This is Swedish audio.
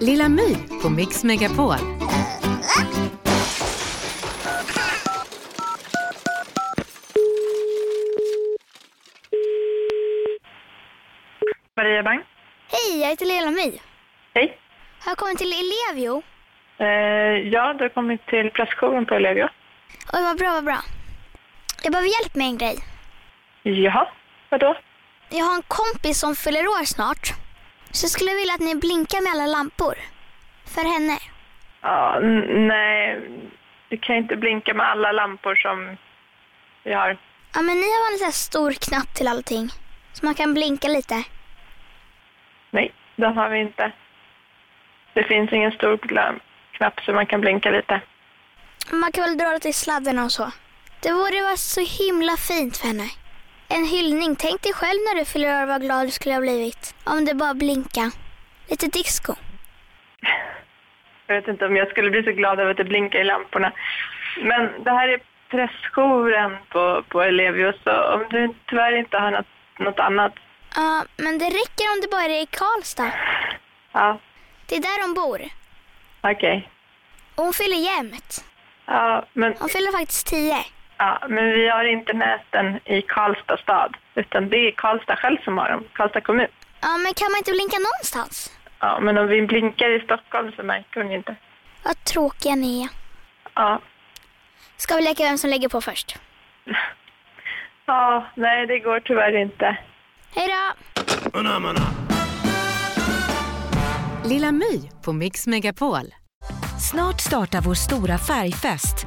Lilla My på Mix Megapol. Maria Bang. Hej, jag heter Lilla My. Hej. Har jag kommit till Elevio? Eh, ja, du har kommit till pressjouren på Ellevio. Oj, vad bra, vad bra. Jag behöver hjälp med en grej. Jaha, vadå? Jag har en kompis som fyller år snart. Så jag skulle vilja att ni blinkar med alla lampor. För henne. Ja, n- nej, du kan inte blinka med alla lampor som vi har. Ja, men ni har en sån här stor knapp till allting. Så man kan blinka lite. Nej, den har vi inte. Det finns ingen stor glam- knapp så man kan blinka lite. Man kan väl dra lite i sladdarna och så. Det borde vara så himla fint för henne. En hyllning. Tänk dig själv när du fyller år vad glad du skulle ha blivit. Om det bara blinka. Lite disco. Jag vet inte om jag skulle bli så glad över att det blinkar i lamporna. Men det här är pressjouren på, på Ellevio, så om du tyvärr inte har något, något annat, Ja, men det räcker om det bara är i Karlstad. ja, Det är där hon bor. okej. Och hon fyller jämt. Ja, men Hon fyller faktiskt tio. Ja, men vi har inte näten i Karlstad stad, utan det är Karlstad själv som har dem, Karlstad kommun. Ja, men kan man inte blinka någonstans? Ja, men om vi blinkar i Stockholm så märker hon inte. Vad tråkiga ni är. Ja, Ska vi leka vem som lägger på först? ja nej det går tyvärr inte. Hej då! Lilla My på Mix Megapol. Snart startar vår stora färgfest